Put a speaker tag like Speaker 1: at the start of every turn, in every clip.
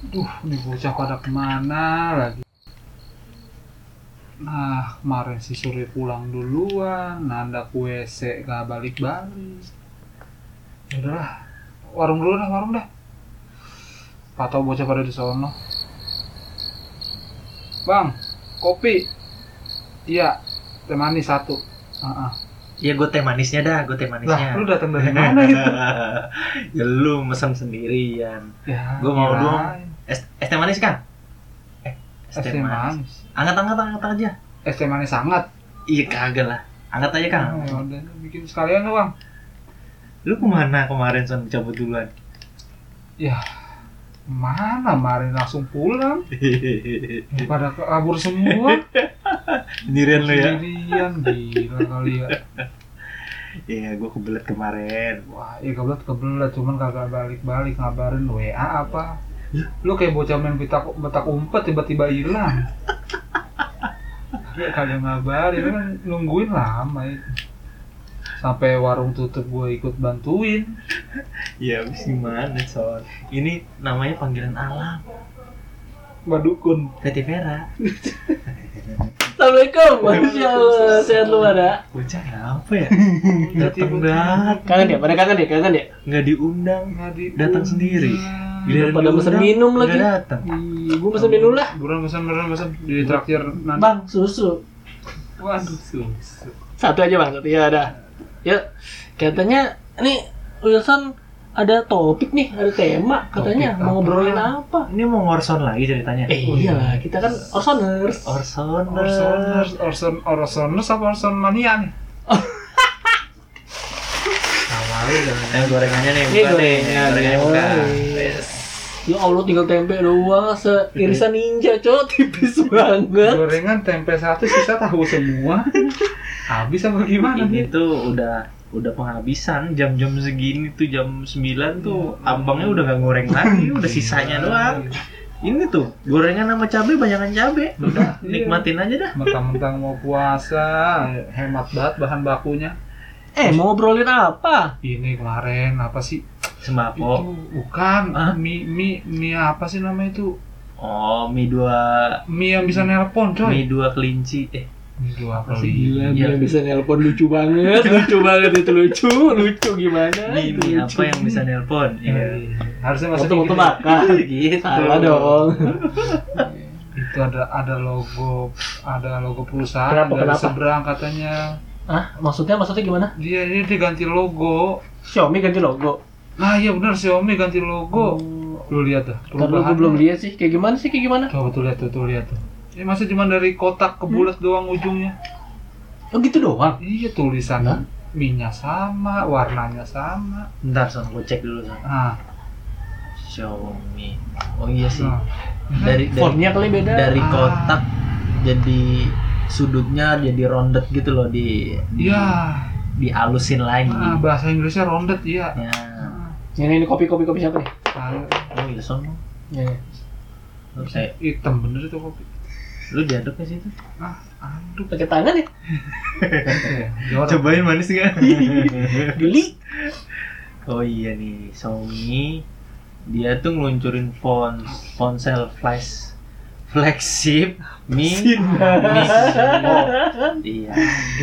Speaker 1: Duh, ini bocah pada kemana lagi? Nah, kemarin si Suri pulang duluan, nanda WC gak balik-balik. Ya udahlah, warung dulu dah, warung dah. Atau bocah pada di sono. Bang, kopi. Iya, teh manis satu. Ah, ah.
Speaker 2: Ya gue teh manisnya dah, gue teh
Speaker 1: Lah,
Speaker 2: manisnya.
Speaker 1: lu datang dari mana itu?
Speaker 2: ya lu mesen sendirian.
Speaker 1: Ya,
Speaker 2: Gua mau dong.
Speaker 1: kirain.
Speaker 2: Es, es teh manis kan? Eh,
Speaker 1: Es
Speaker 2: es teh
Speaker 1: teh
Speaker 2: manis.
Speaker 1: manis.
Speaker 2: Angkat, angkat, angkat aja.
Speaker 1: Es teh manis sangat.
Speaker 2: Iya kagak lah. Angkat aja kang.
Speaker 1: Oh, ya udah, bikin sekalian lu, Bang.
Speaker 2: Lu kemana kemarin son cabut duluan?
Speaker 1: Ya, mana kemarin langsung pulang?
Speaker 2: Iya.
Speaker 1: Pada kabur semua.
Speaker 2: sendirian lu ya?
Speaker 1: Sendirian, gila kali ya.
Speaker 2: Iya, gue kebelet kemarin.
Speaker 1: Wah, iya kebelet kebelet, cuman kagak balik-balik ngabarin WA apa.
Speaker 2: Iya.
Speaker 1: Lu kayak bocah main petak petak umpet tiba-tiba hilang. Ya, kagak ngabarin, kan nungguin lama itu. Sampai warung tutup gue ikut bantuin.
Speaker 2: Iya, abis gimana son? Ini namanya panggilan alam.
Speaker 1: Mbak Dukun.
Speaker 2: Teti Vera.
Speaker 3: Assalamualaikum. Masya Allah. Sehat lu ya? ada?
Speaker 2: Bocah apa ya?
Speaker 1: Tiba-tiba.
Speaker 2: Datang dah,
Speaker 3: Kangen ya? Pada kangen ya? Kangen ya?
Speaker 2: nggak diundang.
Speaker 1: Nggak diundang.
Speaker 2: Datang sendiri.
Speaker 1: Hmm.
Speaker 2: Giliran
Speaker 3: Pada pesen
Speaker 2: diundang,
Speaker 3: minum
Speaker 2: nggak
Speaker 3: lagi.
Speaker 2: datang.
Speaker 3: Ih, gua pesen minum lah.
Speaker 1: Buruan pesan, buruan pesan. Di traktir nanti.
Speaker 3: Bang, susu.
Speaker 1: Waduh, susah.
Speaker 3: Satu aja bang. Satu ya ada. Yuk. Katanya nih Wilson ada topik nih, ada tema. Katanya
Speaker 1: Topik
Speaker 3: mau
Speaker 1: apa?
Speaker 3: ngobrolin apa?
Speaker 2: Ini mau ngorson lagi ceritanya.
Speaker 3: Eh Oh. iyalah, kita kan Orsoners.
Speaker 2: Orsoners.
Speaker 1: Orsoners, Orson, Orsoners apa Orson mania nih? Awalnya jangan
Speaker 2: Yang Eh, gorengannya nih,
Speaker 3: Ini
Speaker 2: bukan nih.
Speaker 3: gorengan.
Speaker 2: Gorengannya bukan.
Speaker 3: iya, Yes. Ya Allah tinggal tempe doang seirisan ninja, cok tipis banget.
Speaker 1: gorengan tempe satu sisa tahu semua. Habis apa gimana nih?
Speaker 2: Ini tuh udah udah penghabisan jam-jam segini tuh jam 9 tuh
Speaker 3: Iya.
Speaker 2: abangnya udah gak goreng lagi udah sisanya doang ini tuh gorengan sama cabe banyakan cabe
Speaker 1: Iya.
Speaker 2: udah nikmatin aja dah
Speaker 1: Mentang-mentang mau puasa, hemat banget bahan bakunya.
Speaker 3: Eh mau ngobrolin apa?
Speaker 1: Ini kemarin apa sih? Itu
Speaker 3: Iya.
Speaker 2: sembako
Speaker 1: bukan
Speaker 2: Oh. Hah?
Speaker 1: mie mie mie apa sih namanya itu?
Speaker 2: oh mie dua
Speaker 1: Mie yang bisa nelpon, coy.
Speaker 2: mie dua kelinci eh
Speaker 1: Mie dua kali.
Speaker 3: Masih Oh, gila,
Speaker 2: Iya.
Speaker 3: dia bisa nelpon lucu banget, lucu banget itu lucu, lucu gimana?
Speaker 2: mie,
Speaker 3: itu
Speaker 2: mie
Speaker 3: lucu.
Speaker 2: apa yang bisa nelpon ya
Speaker 1: Iya. Harusnya
Speaker 3: Waktu
Speaker 1: masuk
Speaker 3: waktu makan,
Speaker 2: gitu
Speaker 3: Iya. salah dong.
Speaker 1: itu ada ada logo ada logo perusahaan
Speaker 3: Kenapa,
Speaker 1: dari
Speaker 3: kenapa?
Speaker 1: seberang katanya
Speaker 3: Ah, maksudnya maksudnya gimana?
Speaker 1: dia ini dia ganti logo
Speaker 3: Xiaomi ganti logo.
Speaker 1: nah iya benar Xiaomi ganti logo lu lihat dah
Speaker 3: Hmm. Ntar logo Oh. belum lihat sih, kayak gimana sih, kayak gimana?
Speaker 1: coba tuh lihat tuh, tuh lihat tuh ini masa cuma dari kotak ke
Speaker 3: Hmm.
Speaker 1: bulat doang ujungnya
Speaker 3: Oh gitu doang.
Speaker 1: iya
Speaker 3: Nah.
Speaker 1: tulisannya minyak sama warnanya sama
Speaker 2: ntar son gue cek dulu son
Speaker 1: nah,
Speaker 2: Xiaomi oh iya
Speaker 3: Hmm.
Speaker 2: sih
Speaker 1: nah.
Speaker 2: dari dari
Speaker 3: Fontnya kali beda.
Speaker 2: dari
Speaker 1: Ah.
Speaker 2: kotak jadi sudutnya jadi rounded gitu loh di di-
Speaker 1: iya
Speaker 2: dialusin lagi.
Speaker 1: ah, bahasa Inggrisnya rounded iya
Speaker 2: Ya.
Speaker 3: Hmm.
Speaker 1: Ah,
Speaker 3: Ini ini kopi kopi kopi siapa nih?
Speaker 1: ayo.
Speaker 2: Oh, iya son. lu.
Speaker 3: Ya, ya.
Speaker 2: Lu kayak-
Speaker 1: hitam bener itu kopi
Speaker 2: lu diaduk ke situ.
Speaker 1: ah aduh
Speaker 3: Pakai tangan ya?
Speaker 1: jorok.
Speaker 2: Cobain manis enggak?
Speaker 3: Geli.
Speaker 2: oh iya nih, Xiaomi dia tuh ngeluncurin font ponsel flash flagship Mi Mi Oh, iya.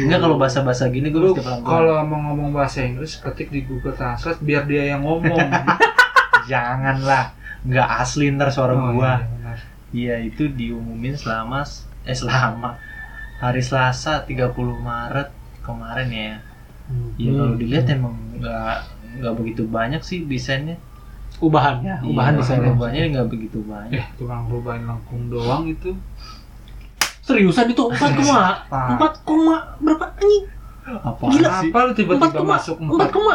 Speaker 2: Enggak kalau bahasa-bahasa gini gue
Speaker 1: Lu
Speaker 2: mesti pelan
Speaker 1: kalau mau ngomong bahasa Inggris ketik di Google Translate biar dia yang ngomong.
Speaker 2: Janganlah, nggak asli ntar suara
Speaker 1: Oh,
Speaker 2: gua.
Speaker 1: iya, benar.
Speaker 2: Iya itu diumumin selama eh selama hari Selasa 30 Maret kemarin ya. Ya
Speaker 3: Hmm.
Speaker 2: kalau dilihat emang nggak nggak begitu banyak sih desainnya.
Speaker 3: Ubahannya, ubahan
Speaker 2: Iya,
Speaker 3: desainnya.
Speaker 2: Perubahannya nggak begitu banyak.
Speaker 1: Eh, cuma ngerubahin lengkung doang itu.
Speaker 3: Seriusan itu empat koma
Speaker 1: Pak.
Speaker 3: empat koma berapa anjing?
Speaker 2: Apa
Speaker 3: Gila.
Speaker 2: sih?
Speaker 1: Apa lu
Speaker 3: Empat
Speaker 1: tiba-tiba
Speaker 3: koma
Speaker 1: masuk
Speaker 3: empat koma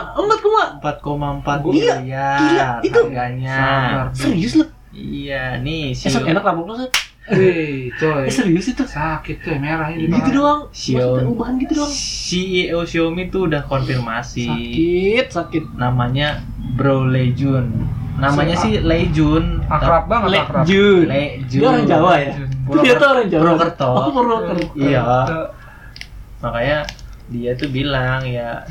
Speaker 3: empat koma
Speaker 2: 4,4
Speaker 3: Gila, gila,
Speaker 2: miliar
Speaker 3: itu.
Speaker 1: Ya,
Speaker 2: harganya.
Speaker 1: Sabar.
Speaker 3: serius loh.
Speaker 2: Iya nih si
Speaker 3: Esok enak rambut lo Sat.
Speaker 1: Wih, coy.
Speaker 3: Eh, serius itu.
Speaker 1: Sakit coy, merah ini.
Speaker 3: Gitu
Speaker 1: Pak.
Speaker 3: doang. Maksudnya
Speaker 2: Xiaomi.
Speaker 3: ubahan gitu doang.
Speaker 2: CEO E Xiaomi tuh udah konfirmasi
Speaker 3: Sakit, sakit.
Speaker 2: namanya Bro Lejun. Namanya
Speaker 1: Si-
Speaker 2: sih Lejun.
Speaker 1: Akrab banget akrab.
Speaker 3: Lejun.
Speaker 2: Lejun.
Speaker 3: Dia orang Jawa ya.
Speaker 2: Purwoker-
Speaker 3: Dia tuh orang Jawa.
Speaker 2: Purwokerto.
Speaker 3: Oh, Purwokerto.
Speaker 2: Iya. Makanya dia tuh bilang ya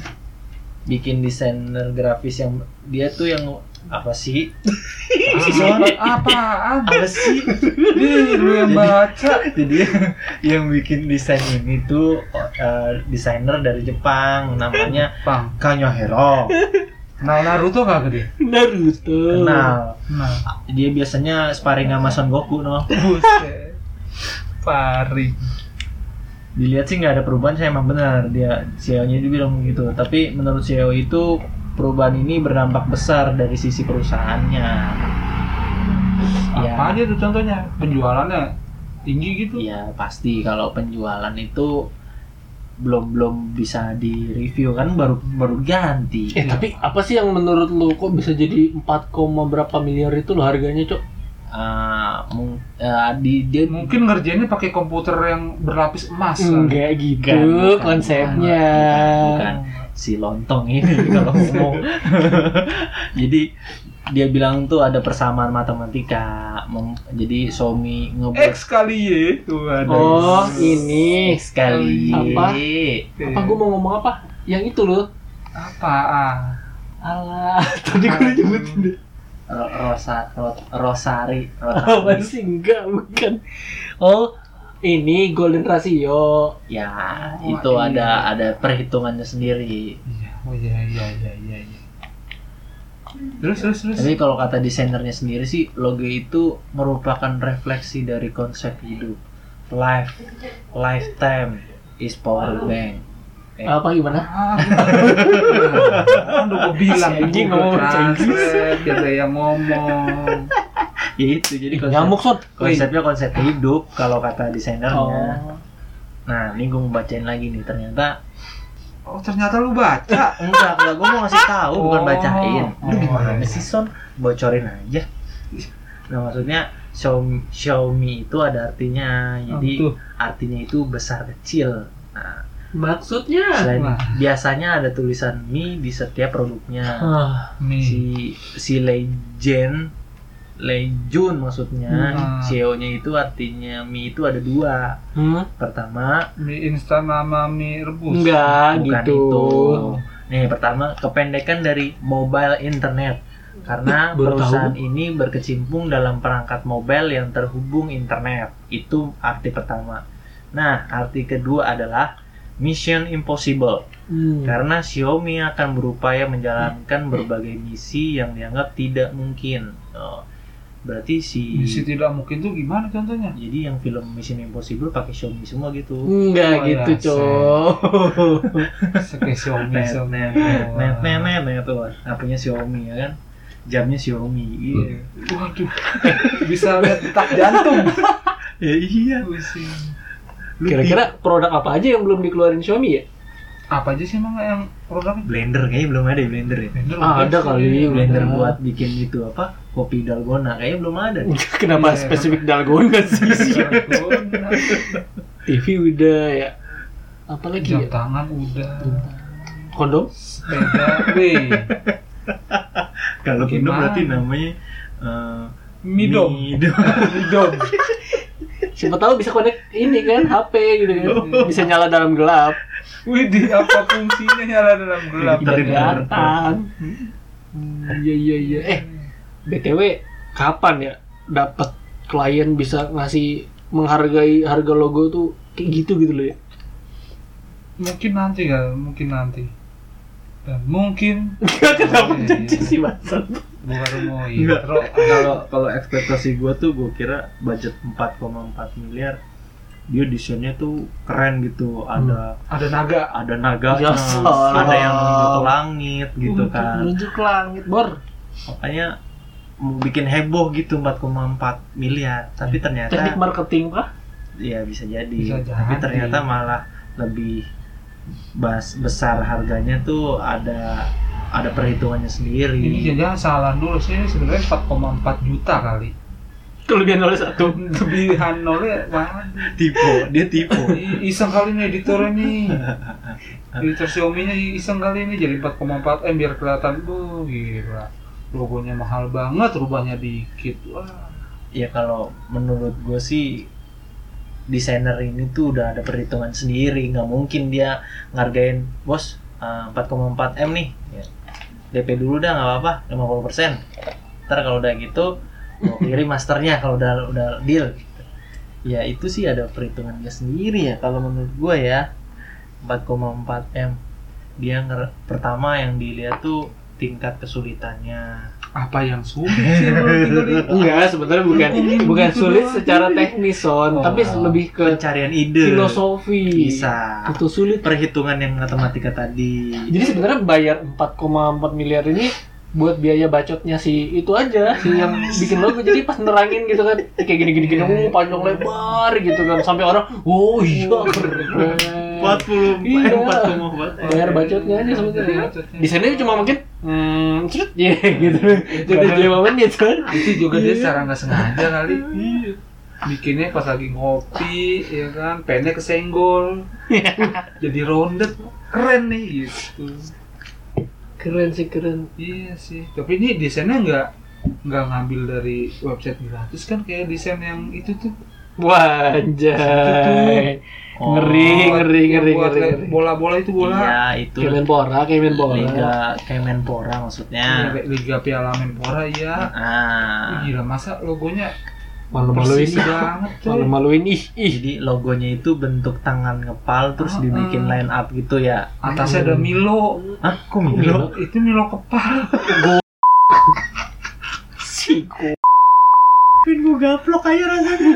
Speaker 2: bikin desainer grafis yang dia tuh yang apa sih
Speaker 3: Iya.
Speaker 1: Ah, apaan?
Speaker 2: apa sih
Speaker 1: Ih, lu yang
Speaker 2: Jadi-
Speaker 1: baca.
Speaker 2: jadi yang bikin desain ini tuh eh, desainer dari Jepang namanya
Speaker 1: Pang.
Speaker 2: Kanyohiro
Speaker 1: Nah, Naruto kagak dia?
Speaker 3: Naruto.
Speaker 2: kenal
Speaker 1: Nah,
Speaker 2: dia biasanya sparring sama Son Goku no
Speaker 1: buset. Pari.
Speaker 2: dilihat sih nggak ada perubahan saya emang benar dia CEO-nya juga bilang begitu tapi menurut CEO itu perubahan ini berdampak besar dari sisi perusahaannya
Speaker 3: Iya.
Speaker 2: ya
Speaker 1: Apa aja tuh contohnya? Penjualannya tinggi gitu.
Speaker 2: ya pasti kalau penjualan itu belum belum bisa di review kan baru baru ganti
Speaker 3: Eh tapi apa sih yang menurut lu kok bisa jadi 4, berapa miliar itu lo harganya cok?
Speaker 2: Ah, mung- ah, di dia
Speaker 1: Mungkin ngerjainnya pakai komputer yang berlapis emas. kan?
Speaker 3: Enggak gitu
Speaker 2: Bukan, bukan,
Speaker 3: konsepnya.
Speaker 2: bukan, bukan. si lontong ini kalau ngomong jadi dia bilang tuh ada persamaan matematika Mem- jadi Somi ngebuat
Speaker 1: X kali Y tuh ada.
Speaker 3: Oh ini
Speaker 2: sekali
Speaker 3: Apa? apa gue mau ngomong apa? Yang itu loh.
Speaker 1: Apaan?
Speaker 3: Alah tadi gue udah nyebutin deh.
Speaker 2: Ro- Rosa Ro- Rosari
Speaker 3: Apa
Speaker 2: Rotari.
Speaker 3: sih enggak bukan? Oh ini golden ratio.
Speaker 2: ya
Speaker 1: Oh,
Speaker 2: itu
Speaker 1: iya.
Speaker 2: ada ada perhitungannya sendiri
Speaker 1: Iya, oh iya iya iya iya. iya. Terus terus terus.
Speaker 2: Tapi kalau kata desainernya sendiri sih, logo itu merupakan refleksi dari konsep hidup. Life, lifetime is power bank. Eh,
Speaker 3: Apa gimana?
Speaker 1: Ah, kan udah gue bilang
Speaker 3: Si anjing
Speaker 1: Google
Speaker 3: ngomong bahasa Inggris.
Speaker 1: Translate, biar ada yang ngomong
Speaker 2: ya itu jadi konsep,
Speaker 3: Nyamuk son.
Speaker 2: konsepnya konsep hidup kalau kata desainernya.
Speaker 3: Oh.
Speaker 2: Nah, ini gue mau bacain lagi nih ternyata
Speaker 1: oh ternyata lu baca
Speaker 2: enggak enggak gue mau ngasih tahu bukan
Speaker 1: Oh.
Speaker 2: bacain. Lu
Speaker 1: Oh,
Speaker 2: gimana
Speaker 1: iya.
Speaker 2: sih son? Bocorin aja. Nah maksudnya Xiaomi, Xiaomi itu ada artinya. Jadi
Speaker 1: Tuh.
Speaker 2: artinya itu besar kecil. Nah,
Speaker 3: Maksudnya?
Speaker 2: Selain
Speaker 1: Ah, Wah.
Speaker 2: biasanya ada tulisan mie di setiap
Speaker 1: Ah,
Speaker 2: produknya.
Speaker 3: Hah,
Speaker 1: nih
Speaker 2: Si si legend Lejun maksudnya
Speaker 1: Hmm.
Speaker 2: CEO-nya itu artinya mie itu ada dua.
Speaker 3: Hmm?
Speaker 2: Pertama
Speaker 1: mie instan sama mie rebus
Speaker 3: Enggak
Speaker 2: bukan
Speaker 3: gitu.
Speaker 2: itu. Nih pertama kependekan dari mobile internet karena
Speaker 3: Ih, baru
Speaker 2: perusahaan ini berkecimpung dalam perangkat mobile yang terhubung internet. Itu arti pertama. Nah arti kedua adalah Mission Impossible.
Speaker 3: Hmm.
Speaker 2: Karena Xiaomi akan berupaya menjalankan berbagai misi yang dianggap tidak mungkin. Oh, berarti si
Speaker 1: misi tidak mungkin tuh gimana contohnya
Speaker 2: jadi yang film Mission Impossible pakai Xiaomi semua gitu.
Speaker 3: Enggak
Speaker 1: Oh,
Speaker 3: gitu,
Speaker 1: ya,
Speaker 3: Cok.
Speaker 1: Kayak Xiaomi
Speaker 2: Net,
Speaker 1: Xiaomi.
Speaker 2: net, net, net, net, net, tuh. Apanya Xiaomi ya kan? Jamnya Xiaomi. Iya.
Speaker 1: Hmm. waduh bisa lihat detak jantung
Speaker 2: Ya iya.
Speaker 1: Pusing.
Speaker 2: Lu di-
Speaker 3: Kira-kira produk apa aja yang belum dikeluarin Xiaomi ya?
Speaker 1: apa aja sih emang yang produknya
Speaker 2: blender kayaknya belum ada ya, blender ya.
Speaker 1: Blender
Speaker 3: Ah,
Speaker 1: udah
Speaker 3: ada
Speaker 1: sih.
Speaker 3: kali,
Speaker 2: Blender
Speaker 3: Belum.
Speaker 2: buat bikin itu apa? Kopi dalgona kayaknya belum ada.
Speaker 3: Kenapa
Speaker 1: Iya.
Speaker 3: spesifik dalgona sih? TV udah ya. Apa
Speaker 2: Iya.
Speaker 3: lagi
Speaker 1: jam
Speaker 3: ya?
Speaker 1: tangan udah
Speaker 3: Kondom?
Speaker 1: sepeda weh
Speaker 2: Kalau belum
Speaker 1: Gimana?
Speaker 2: berarti namanya eh,
Speaker 1: midom
Speaker 2: Midom.
Speaker 1: midom
Speaker 3: Siapa tahu bisa connect ini kan HP gitu kan. Bisa nyala dalam gelap.
Speaker 1: Widih, apa fungsinya nyala dalam gelap?
Speaker 3: Iya,
Speaker 2: Dari dalam.
Speaker 3: Kelihatan. Hmm, Iya iya iya. Eh, BTW kapan ya dapat klien bisa ngasih menghargai harga logo tuh kayak gitu gitu loh ya.
Speaker 1: Mungkin nanti kan, mungkin nanti. Dan mungkin
Speaker 3: Kenapa
Speaker 1: Iya,
Speaker 3: jadi
Speaker 1: iya.
Speaker 3: sih bangsat?
Speaker 1: bukan iya. mau
Speaker 2: Enggak.
Speaker 1: intro.
Speaker 2: kalau kalau ekspektasi gua tuh gua kira budget 4,4 miliar dia desainnya tuh keren gitu ada
Speaker 1: Ada naga.
Speaker 2: ada naga
Speaker 3: Ya salah.
Speaker 2: ada yang menuju ke langit gitu kan
Speaker 3: Menuju ke langit, Bor.
Speaker 2: makanya mau bikin heboh gitu 4,4 miliar tapi
Speaker 3: Teknik
Speaker 2: ternyata
Speaker 3: marketing kah?
Speaker 2: ya bisa jadi
Speaker 1: Bisa jadi.
Speaker 2: tapi ternyata malah lebih bas- besar harganya tuh ada ada perhitungannya sendiri
Speaker 1: Ini jangan salah dulu sih ini sebenarnya 4,4 juta kali.
Speaker 3: Kelebihan oleh satu.
Speaker 1: Lebihan nolnya wah.
Speaker 2: tipu dia tipu
Speaker 1: i- Iseng kali ini editornya nih. Editor Xiaomi-nya iseng kali ini jadi 4,4 m eh, biar kelihatan bu gila. Logonya mahal banget, rubahnya dikit. Wah.
Speaker 2: ya kalau menurut gue sih desainer ini tuh udah ada perhitungan sendiri nggak mungkin dia ngargain bos eh, 4,4 m nih ya. DP dulu dah nggak apa-apa 50 persen ntar kalau udah gitu mau kirim masternya kalau udah udah deal ya itu sih ada perhitungannya sendiri ya kalau menurut gue ya 4,4 m dia nger- pertama yang dilihat tuh tingkat kesulitannya
Speaker 1: Apa yang sulit sih lu tinggal di
Speaker 3: Enggak, sebenarnya bukan bukan sulit secara teknis
Speaker 2: Oh,
Speaker 3: son, tapi lebih ke
Speaker 2: pencarian
Speaker 3: Iya.
Speaker 2: ide
Speaker 3: filosofi.
Speaker 2: bisa
Speaker 3: Itu sulit.
Speaker 2: perhitungan yang matematika tadi
Speaker 3: Jadi sebenarnya bayar 4,4 miliar ini buat biaya bacotnya si itu aja si yang bikin logo jadi pas nerangin gitu kan kayak gini gini gini oh, panjang lebar gitu kan sampai orang oh iya keren."
Speaker 2: 40
Speaker 3: Iya.
Speaker 2: 4,4
Speaker 3: bayar bacotnya aja sebenarnya
Speaker 1: Bacotnya.
Speaker 3: desainnya cuma mungkin hmm cerut ya gitu jadi lima menit kan
Speaker 1: itu juga dia secara nggak sengaja kali bikinnya pas lagi ngopi ya kan pendek kesenggol jadi rounded keren nih gitu
Speaker 3: keren sih keren
Speaker 1: iya sih tapi ini desainnya nggak nggak ngambil dari website gratis kan kayak desain yang itu tuh
Speaker 3: wah anjay
Speaker 2: Oh,
Speaker 3: ngeri ngeri
Speaker 1: yang
Speaker 3: ngeri
Speaker 1: buat
Speaker 3: ngeri,
Speaker 1: kayak
Speaker 3: ngeri.
Speaker 1: bola-bola itu bola
Speaker 2: Iya, itu
Speaker 3: Kemenpora Kemenpora
Speaker 2: Liga Kemenpora maksudnya.
Speaker 1: Liga- Liga Piala Menpora ya Ih,
Speaker 2: Ah.
Speaker 1: gila masa logonya
Speaker 3: malu-maluin
Speaker 1: persis
Speaker 3: ih
Speaker 1: banget coy
Speaker 3: malu-maluin ih ih
Speaker 2: Jadi logonya itu bentuk tangan ngepal terus
Speaker 1: Ah,
Speaker 2: dibikin
Speaker 1: ah.
Speaker 2: line up gitu ya.
Speaker 1: atasnya ada Milo
Speaker 2: Hah, kok
Speaker 3: Milo?
Speaker 2: Milo?
Speaker 1: itu Milo kepala
Speaker 3: si
Speaker 2: Pin gua gaplok aja rasanya.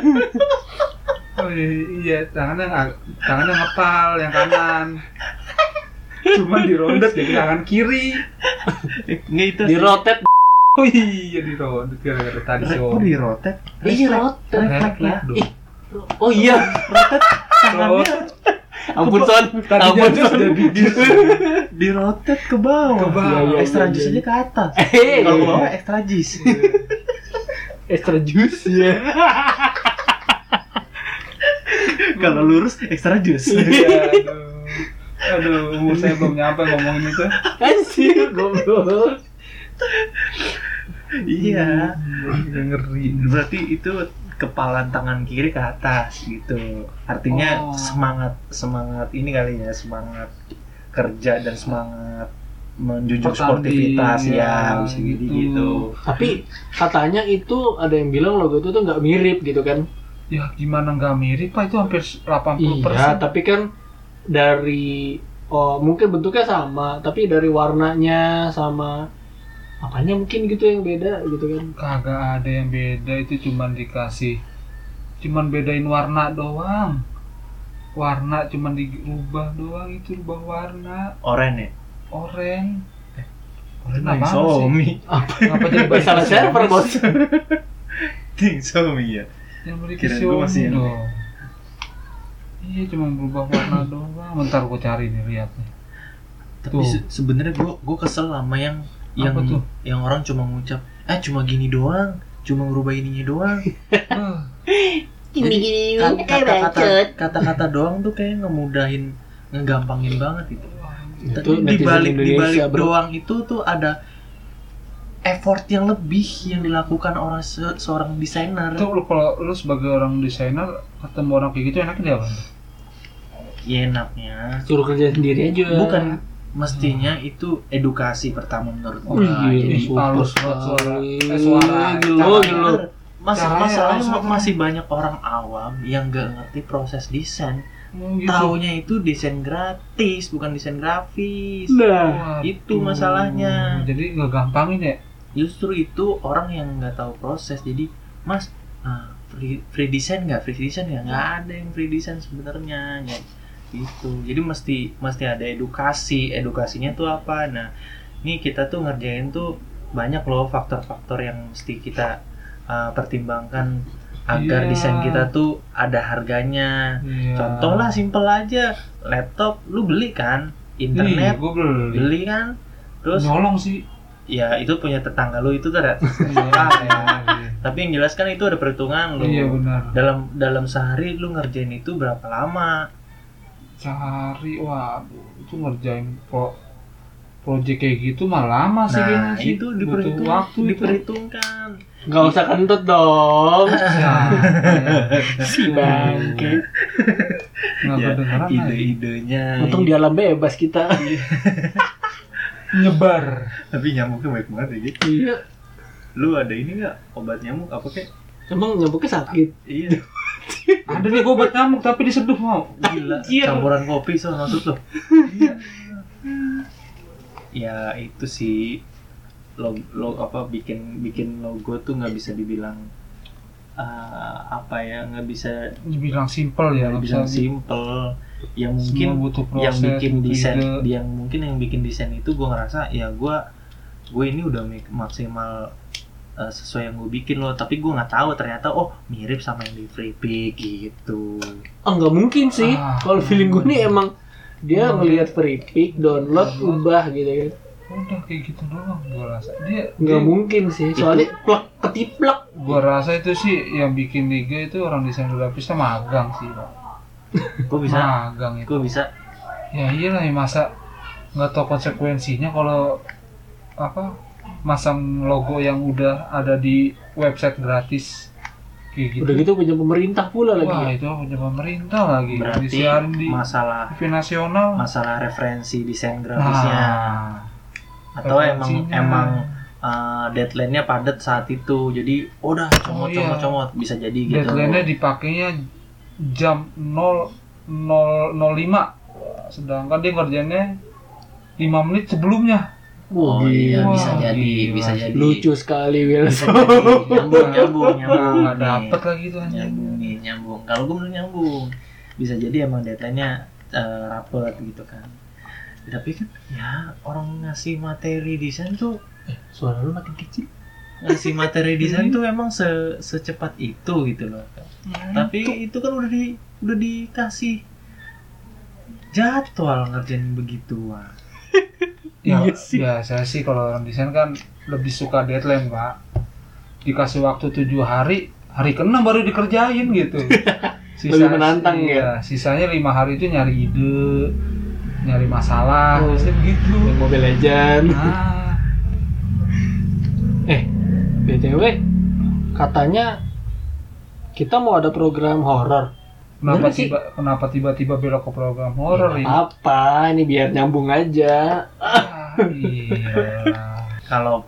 Speaker 1: Oh iya, tangannya nggak, tangannya ngepal yang kanan. Cuma dirondet jadi tangan kiri.
Speaker 2: Nggak itu.
Speaker 3: di rotet
Speaker 1: Oh iya dirondet gara-gara tadi
Speaker 2: Rek,
Speaker 1: so.
Speaker 2: Kok Iya, di rotet?
Speaker 3: Ih,
Speaker 2: Rek,
Speaker 3: rotet.
Speaker 2: rek, rek, ya.
Speaker 1: Aduh.
Speaker 3: Ih, oh iya
Speaker 2: Tangannya
Speaker 3: ampun son
Speaker 1: Tadinya
Speaker 3: ampun
Speaker 1: jus
Speaker 3: son
Speaker 1: jadi gitu. jus.
Speaker 2: di rotet ke bawah.
Speaker 1: Ke bawah.
Speaker 2: Iya, iya, Extra
Speaker 3: iya,
Speaker 2: jus
Speaker 3: iya.
Speaker 2: aja ke atas.
Speaker 3: Eh,
Speaker 2: Kalau ke
Speaker 3: iya.
Speaker 2: bawah extra jus.
Speaker 3: extra juice ya
Speaker 2: Kalau lurus extra jus.
Speaker 1: Iya, Aduh, Aduh, umur saya belum nyampe ngomongin itu.
Speaker 3: anjir goblok
Speaker 2: Iya.
Speaker 1: Iya, ngeri.
Speaker 2: berarti itu kepalan tangan kiri ke atas gitu
Speaker 1: Oh.
Speaker 2: artinya semangat semangat ini kali ya semangat kerja dan semangat menjunjung
Speaker 1: Pertanding,
Speaker 2: sportivitas
Speaker 1: ya,
Speaker 2: ya bisa jadi
Speaker 1: gitu.
Speaker 2: gitu
Speaker 3: tapi katanya itu ada yang bilang logo itu tuh nggak mirip gitu kan
Speaker 1: Ya gimana nggak mirip pak itu hampir 80
Speaker 3: iya tapi kan dari oh mungkin bentuknya sama tapi dari warnanya sama apanya mungkin gitu yang beda gitu kan
Speaker 1: Kagak ada yang beda itu cuman dikasih cuman bedain warna doang. Warna cuman diubah doang itu ubah warna
Speaker 2: oren ya
Speaker 1: oranye. Eh,
Speaker 2: Ting
Speaker 1: apa sih?
Speaker 2: somi
Speaker 1: Kenapa jadi bahasa
Speaker 3: salah server bos
Speaker 2: ting somi ya
Speaker 1: Yang beri
Speaker 2: Kirain gua masih
Speaker 1: Xiaomi
Speaker 2: yang-
Speaker 1: dong. Oh. Iya cuma berubah warna doang. Bentar gua cari nih lihat nih.
Speaker 2: tapi
Speaker 1: Tuh.
Speaker 2: se- sebenarnya gua gua kesel sama yang yang
Speaker 1: Apa tuh?
Speaker 2: yang orang cuma ngucap eh cuma gini doang cuma ngerubah ininya doang
Speaker 1: Eh,
Speaker 2: Jadi, ka- kata-kata kata-kata doang tuh kayak ngemudahin ngegampangin banget gitu
Speaker 3: itu
Speaker 2: Tapi di balik di
Speaker 3: netizen
Speaker 2: balik
Speaker 3: Indonesia bro
Speaker 2: doang itu tuh ada effort yang lebih yang dilakukan orang se- seorang desainer.
Speaker 1: Itu lu kalau lu sebagai orang desainer ketemu orang kayak gitu enaknya dia apa?
Speaker 2: Ya enaknya
Speaker 3: suruh kerja sendiri aja
Speaker 2: bukan mestinya itu edukasi pertama menurut gua.
Speaker 3: Wih,
Speaker 2: Jadi,
Speaker 1: Ih,
Speaker 3: Oh,
Speaker 1: halus banget suara. Eh,
Speaker 2: Oh,
Speaker 1: suara.
Speaker 3: suara gelo
Speaker 1: Caranya.
Speaker 3: gelo
Speaker 2: mas-
Speaker 1: Caranya
Speaker 2: masalahnya
Speaker 1: langsung
Speaker 2: ma- masih banyak orang awam yang nggak ngerti proses desain.
Speaker 1: Oh, gitu.
Speaker 2: Taunya itu desain gratis, bukan desain grafis.
Speaker 3: nah
Speaker 1: Waduh. Hmm,
Speaker 2: Itu masalahnya.
Speaker 1: Jadi nggak gampangin ya?
Speaker 2: justru itu orang yang nggak tahu proses jadi mas ah, free free design nggak free design nggak nggak ada yang free design sebenarnya ya gitu jadi mesti mesti ada edukasi edukasinya tuh apa nah ini kita tuh ngerjain tuh banyak loh faktor-faktor yang mesti kita ah, pertimbangkan
Speaker 1: Iya.
Speaker 2: agar desain kita tuh ada harganya
Speaker 1: Iya.
Speaker 2: contoh lah simple aja laptop lu beli kan
Speaker 1: Iya,
Speaker 2: internet
Speaker 1: gue beli.
Speaker 2: beli kan terus
Speaker 1: Nyolong sih.
Speaker 2: ya itu punya tetangga lu itu tuh tapi yang jelas kan itu ada perhitungan lu
Speaker 1: Iya benar.
Speaker 2: dalam dalam sehari lu ngerjain itu berapa lama
Speaker 1: Sehari, waduh, itu ngerjain pro project kayak gitu mah lama sih kayaknya
Speaker 2: nah
Speaker 1: sih.
Speaker 2: itu
Speaker 1: Butuh
Speaker 2: diperhitung-
Speaker 1: waktu itu.
Speaker 2: diperhitungkan
Speaker 3: nggak usah
Speaker 1: Nah,
Speaker 3: kentut dong
Speaker 1: Ya, ya.
Speaker 3: si bangke
Speaker 1: nggak
Speaker 2: Ya,
Speaker 1: kedengeran lagi.
Speaker 2: ide-idenya
Speaker 3: Untung di alam bebas kita.
Speaker 1: nyebar
Speaker 2: tapi nyamuknya baik banget ya gitu
Speaker 3: Iya.
Speaker 2: lu ada ini nggak obat nyamuk apa kek
Speaker 3: Emang nyamuknya sakit.
Speaker 2: iya
Speaker 1: ada nih gue obat nyamuk tapi diseduh mau
Speaker 2: gila
Speaker 3: Anjir.
Speaker 2: campuran kopi so maksud lo ya itu sih lo, lo- apa bikin bikin logo tuh nggak bisa dibilang eh, apa ya nggak bisa
Speaker 1: dibilang simpel ya
Speaker 2: nggak
Speaker 1: nggak
Speaker 2: bisa
Speaker 1: bisa di-
Speaker 2: simple yang
Speaker 1: semua
Speaker 2: mungkin
Speaker 1: butuh proses gitu.
Speaker 2: yang bikin
Speaker 1: butuh
Speaker 2: desain
Speaker 1: ide.
Speaker 2: yang mungkin yang bikin desain itu gue ngerasa ya gue gue ini udah mak- maksimal eh, sesuai yang gue bikin loh tapi gue nggak tahu ternyata oh mirip sama yang di free pick gitu
Speaker 3: Ah nggak mungkin sih.
Speaker 1: Ah.
Speaker 3: Kalau feeling gue nih emang dia ngelihat free pick, download, ubah gitu kan.
Speaker 1: udah kayak gitu doang gue rasa dia
Speaker 3: Nggak mungkin sih. Soalnya plek ketiplek.
Speaker 1: gue rasa itu sih yang bikin liga itu orang desain grafiknya magang sih pak
Speaker 2: gue bisa
Speaker 1: magang itu
Speaker 2: gue bisa
Speaker 1: ya iyalah ya masa nggak tahu konsekuensinya kalau apa masang logo yang udah ada di website gratis kayak gitu
Speaker 3: Udah gitu punya pemerintah pula lagi. ya?
Speaker 1: wah itu punya pemerintah lagi
Speaker 2: berarti
Speaker 1: disiarin di
Speaker 2: masalah
Speaker 1: TV nasional
Speaker 2: masalah referensi desain grafisnya
Speaker 1: nah
Speaker 2: atau emang
Speaker 1: referensinya.
Speaker 2: emang eh, deadline-nya padat saat itu jadi "Oh, udah
Speaker 1: Oh,
Speaker 2: comot
Speaker 1: iya.
Speaker 2: comot comot bisa jadi gitu
Speaker 1: deadline-nya dipakainya jam 00.05 sedangkan dia ngerjainnya 5 menit sebelumnya
Speaker 2: oh
Speaker 3: Wah,
Speaker 2: iya
Speaker 3: gila.
Speaker 2: bisa
Speaker 1: Wah,
Speaker 2: jadi
Speaker 1: gila
Speaker 2: bisa
Speaker 1: sih.
Speaker 2: jadi
Speaker 3: Lucu sekali
Speaker 2: Bisa
Speaker 3: Wilson.
Speaker 2: jadi. nyambung nyambung
Speaker 1: Nah,
Speaker 2: nyambung
Speaker 1: nggak dapet
Speaker 2: nih.
Speaker 1: lagi itu anjing
Speaker 2: nyambung nih nyambung kalau gue belum nyambung bisa jadi emang deadline-nya eh, rapet gitu kan tapi kan ya orang ngasih materi desain tuh
Speaker 3: Suara lu makin kecil.
Speaker 2: ngasih materi desain tuh emang se- secepat itu gitu loh tapi itu kan udah di udah dikasih jadwal ngerjain begituan
Speaker 1: ya,
Speaker 3: Iya sih.
Speaker 1: biasa sih kalau orang desain kan lebih suka deadline pak dikasih waktu tujuh hari hari keenam baru dikerjain gitu
Speaker 3: Lebih menantang
Speaker 1: iya, sisanya lima hari itu nyari ide nyari masalah
Speaker 3: Oh.
Speaker 1: biasanya begitu
Speaker 3: Yang Mobile Legend.
Speaker 1: nah
Speaker 3: Eh, BTW katanya kita mau ada program horor.
Speaker 1: kenapa
Speaker 3: Bener sih.
Speaker 1: tiba kenapa tiba-tiba belok ke program horor
Speaker 3: Hmm.
Speaker 1: ini
Speaker 3: Apa? Ini biar nyambung aja.
Speaker 1: Ah, iya
Speaker 2: kalau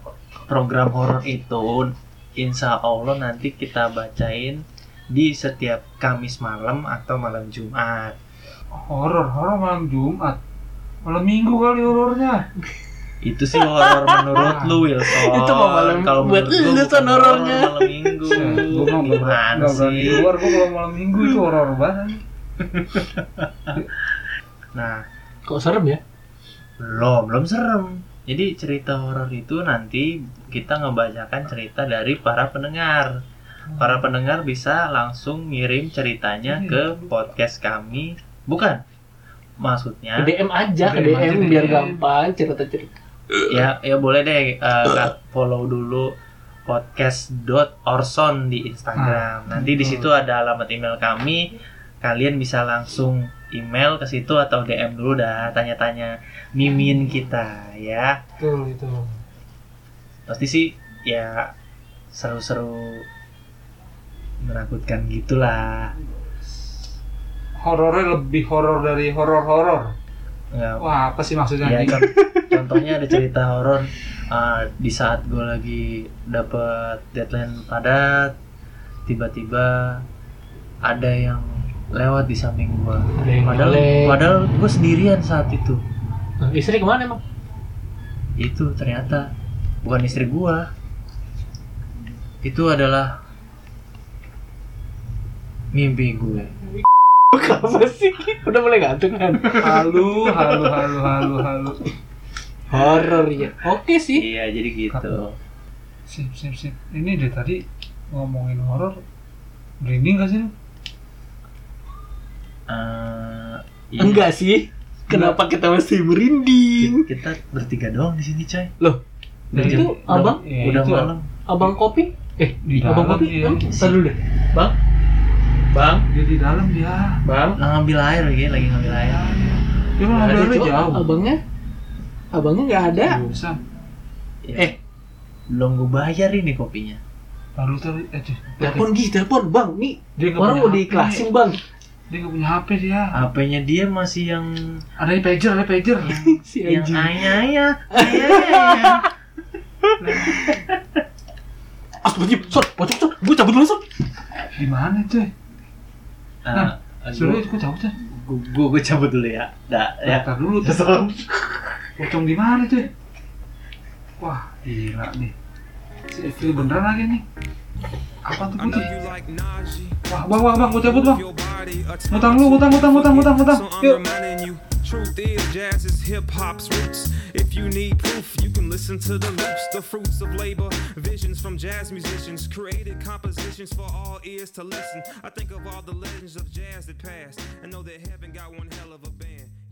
Speaker 2: program horor itu insya Allah nanti kita bacain di setiap Kamis malam atau malam Jumat
Speaker 1: horor horor malam Jumat malam Minggu kali horornya
Speaker 2: itu sih horor menurut lu Wilson
Speaker 3: Itu mah malam-
Speaker 2: kalau
Speaker 3: buat
Speaker 2: menurut gua
Speaker 3: lu,
Speaker 2: bukan
Speaker 3: Son, horornya.
Speaker 2: horor malam minggu
Speaker 1: gue mah nggak berani,
Speaker 2: gimana
Speaker 1: nggak berani
Speaker 2: sih
Speaker 1: keluar gue kalau malam Minggu itu horor banget
Speaker 2: nah
Speaker 3: Kok serem ya?
Speaker 2: belum belum serem jadi cerita horor itu nanti kita ngebacakan cerita dari para pendengar para pendengar bisa langsung ngirim ceritanya ke podcast kami bukan
Speaker 3: Ke
Speaker 2: maksudnya
Speaker 3: DM aja, ke
Speaker 1: DM
Speaker 3: DM,
Speaker 1: aja,
Speaker 3: biar
Speaker 1: DM.
Speaker 3: gampang cerita-cerita.
Speaker 2: ya ya boleh deh eh, Kak, follow dulu podcast.orson di Instagram. Nanti di situ ada alamat email kami. Kalian bisa langsung email ke situ atau DM dulu dah tanya-tanya mimin kita ya.
Speaker 1: betul itu
Speaker 2: Pasti sih ya seru-seru menakutkan gitulah.
Speaker 1: horornya lebih horor dari horor-horor.
Speaker 2: Nggak
Speaker 1: Wah, apa sih maksudnya?
Speaker 2: Ya,
Speaker 1: ini?
Speaker 2: con- contohnya ada cerita horor uh, di saat gue lagi dapet deadline padat, tiba-tiba ada yang lewat di samping gue.
Speaker 3: Ada yang
Speaker 2: Padahal,
Speaker 3: nyolek.
Speaker 2: padahal gue sendirian saat itu.
Speaker 3: Nah, istri kemana emang?
Speaker 2: Itu ternyata bukan istri gue. Itu adalah mimpi gue.
Speaker 3: Apa sih? Udah mulai gantung kan?
Speaker 1: Halu, halu, halu, halu, halu.
Speaker 3: Horor ya. Oke sih.
Speaker 2: Iya, jadi gitu.
Speaker 1: Sip, sip, sip. Ini dari tadi ngomongin horor, merinding gak sih? lu?
Speaker 2: Uh, iya.
Speaker 3: Enggak sih. Kenapa kita mesti merinding?
Speaker 2: Kita bertiga doang di sini, coy.
Speaker 1: Iya.
Speaker 3: Loh,
Speaker 2: Udah
Speaker 1: itu
Speaker 2: jam- udah-
Speaker 3: Nah, abang?
Speaker 1: Ya,
Speaker 2: udah
Speaker 1: itu
Speaker 2: malam.
Speaker 3: Abang kopi? Eh,
Speaker 1: Di
Speaker 3: abang
Speaker 1: dalam
Speaker 3: kopi?
Speaker 1: dia.
Speaker 3: Bang, tar dulu deh. Bang? Bang?
Speaker 1: Dia di dalam dia.
Speaker 3: Bang?
Speaker 2: Nah, ngambil air lagi, lagi ngambil air.
Speaker 1: Dia
Speaker 3: Nggak
Speaker 1: malah
Speaker 3: ada,
Speaker 1: dari
Speaker 3: Cok.
Speaker 1: jauh.
Speaker 3: Abangnya? Abangnya nggak ada.
Speaker 1: Bisa.
Speaker 2: Ya.
Speaker 3: Eh.
Speaker 2: belum gue bayar ini kopinya.
Speaker 1: Lalu tadi, eh, dia-
Speaker 3: Telepon gih, telepon bang. Nih
Speaker 1: dia nggak
Speaker 3: orang
Speaker 1: punya
Speaker 3: mau
Speaker 1: HP.
Speaker 3: diiklasin bang.
Speaker 1: Dia gak punya HP sih ya.
Speaker 2: HP-nya dia masih yang
Speaker 1: Ada yang pager, ada yang pager.
Speaker 3: si
Speaker 2: yang
Speaker 3: Iya, anjing.
Speaker 2: ayah ayah
Speaker 3: Astagfirullahaladzim, sor, pocok sor, gue cabut dulu sor.
Speaker 1: Di mana itu?
Speaker 2: Nah,
Speaker 1: Suruh itu cabut
Speaker 2: Eh,
Speaker 1: ya.
Speaker 2: gue gue cabut dulu ya. Dah ya.
Speaker 1: Daftar dulu tuh.
Speaker 2: Serem.
Speaker 1: Pocong di mana cuy? Wah, gila nih. Si Evil beneran lagi nih. Apa tuh putih? Wah, bang, bang, bang, gua cabut bang.
Speaker 4: Ngutang lu, ngutang, ngutang, ngutang, ngutang, ngutang. Yuk. If you need proof, you can listen to the loops, the fruits of labor, visions from jazz musicians, created compositions for all ears to listen. I think of all the legends of jazz that passed, and know that heaven got one hell of a band.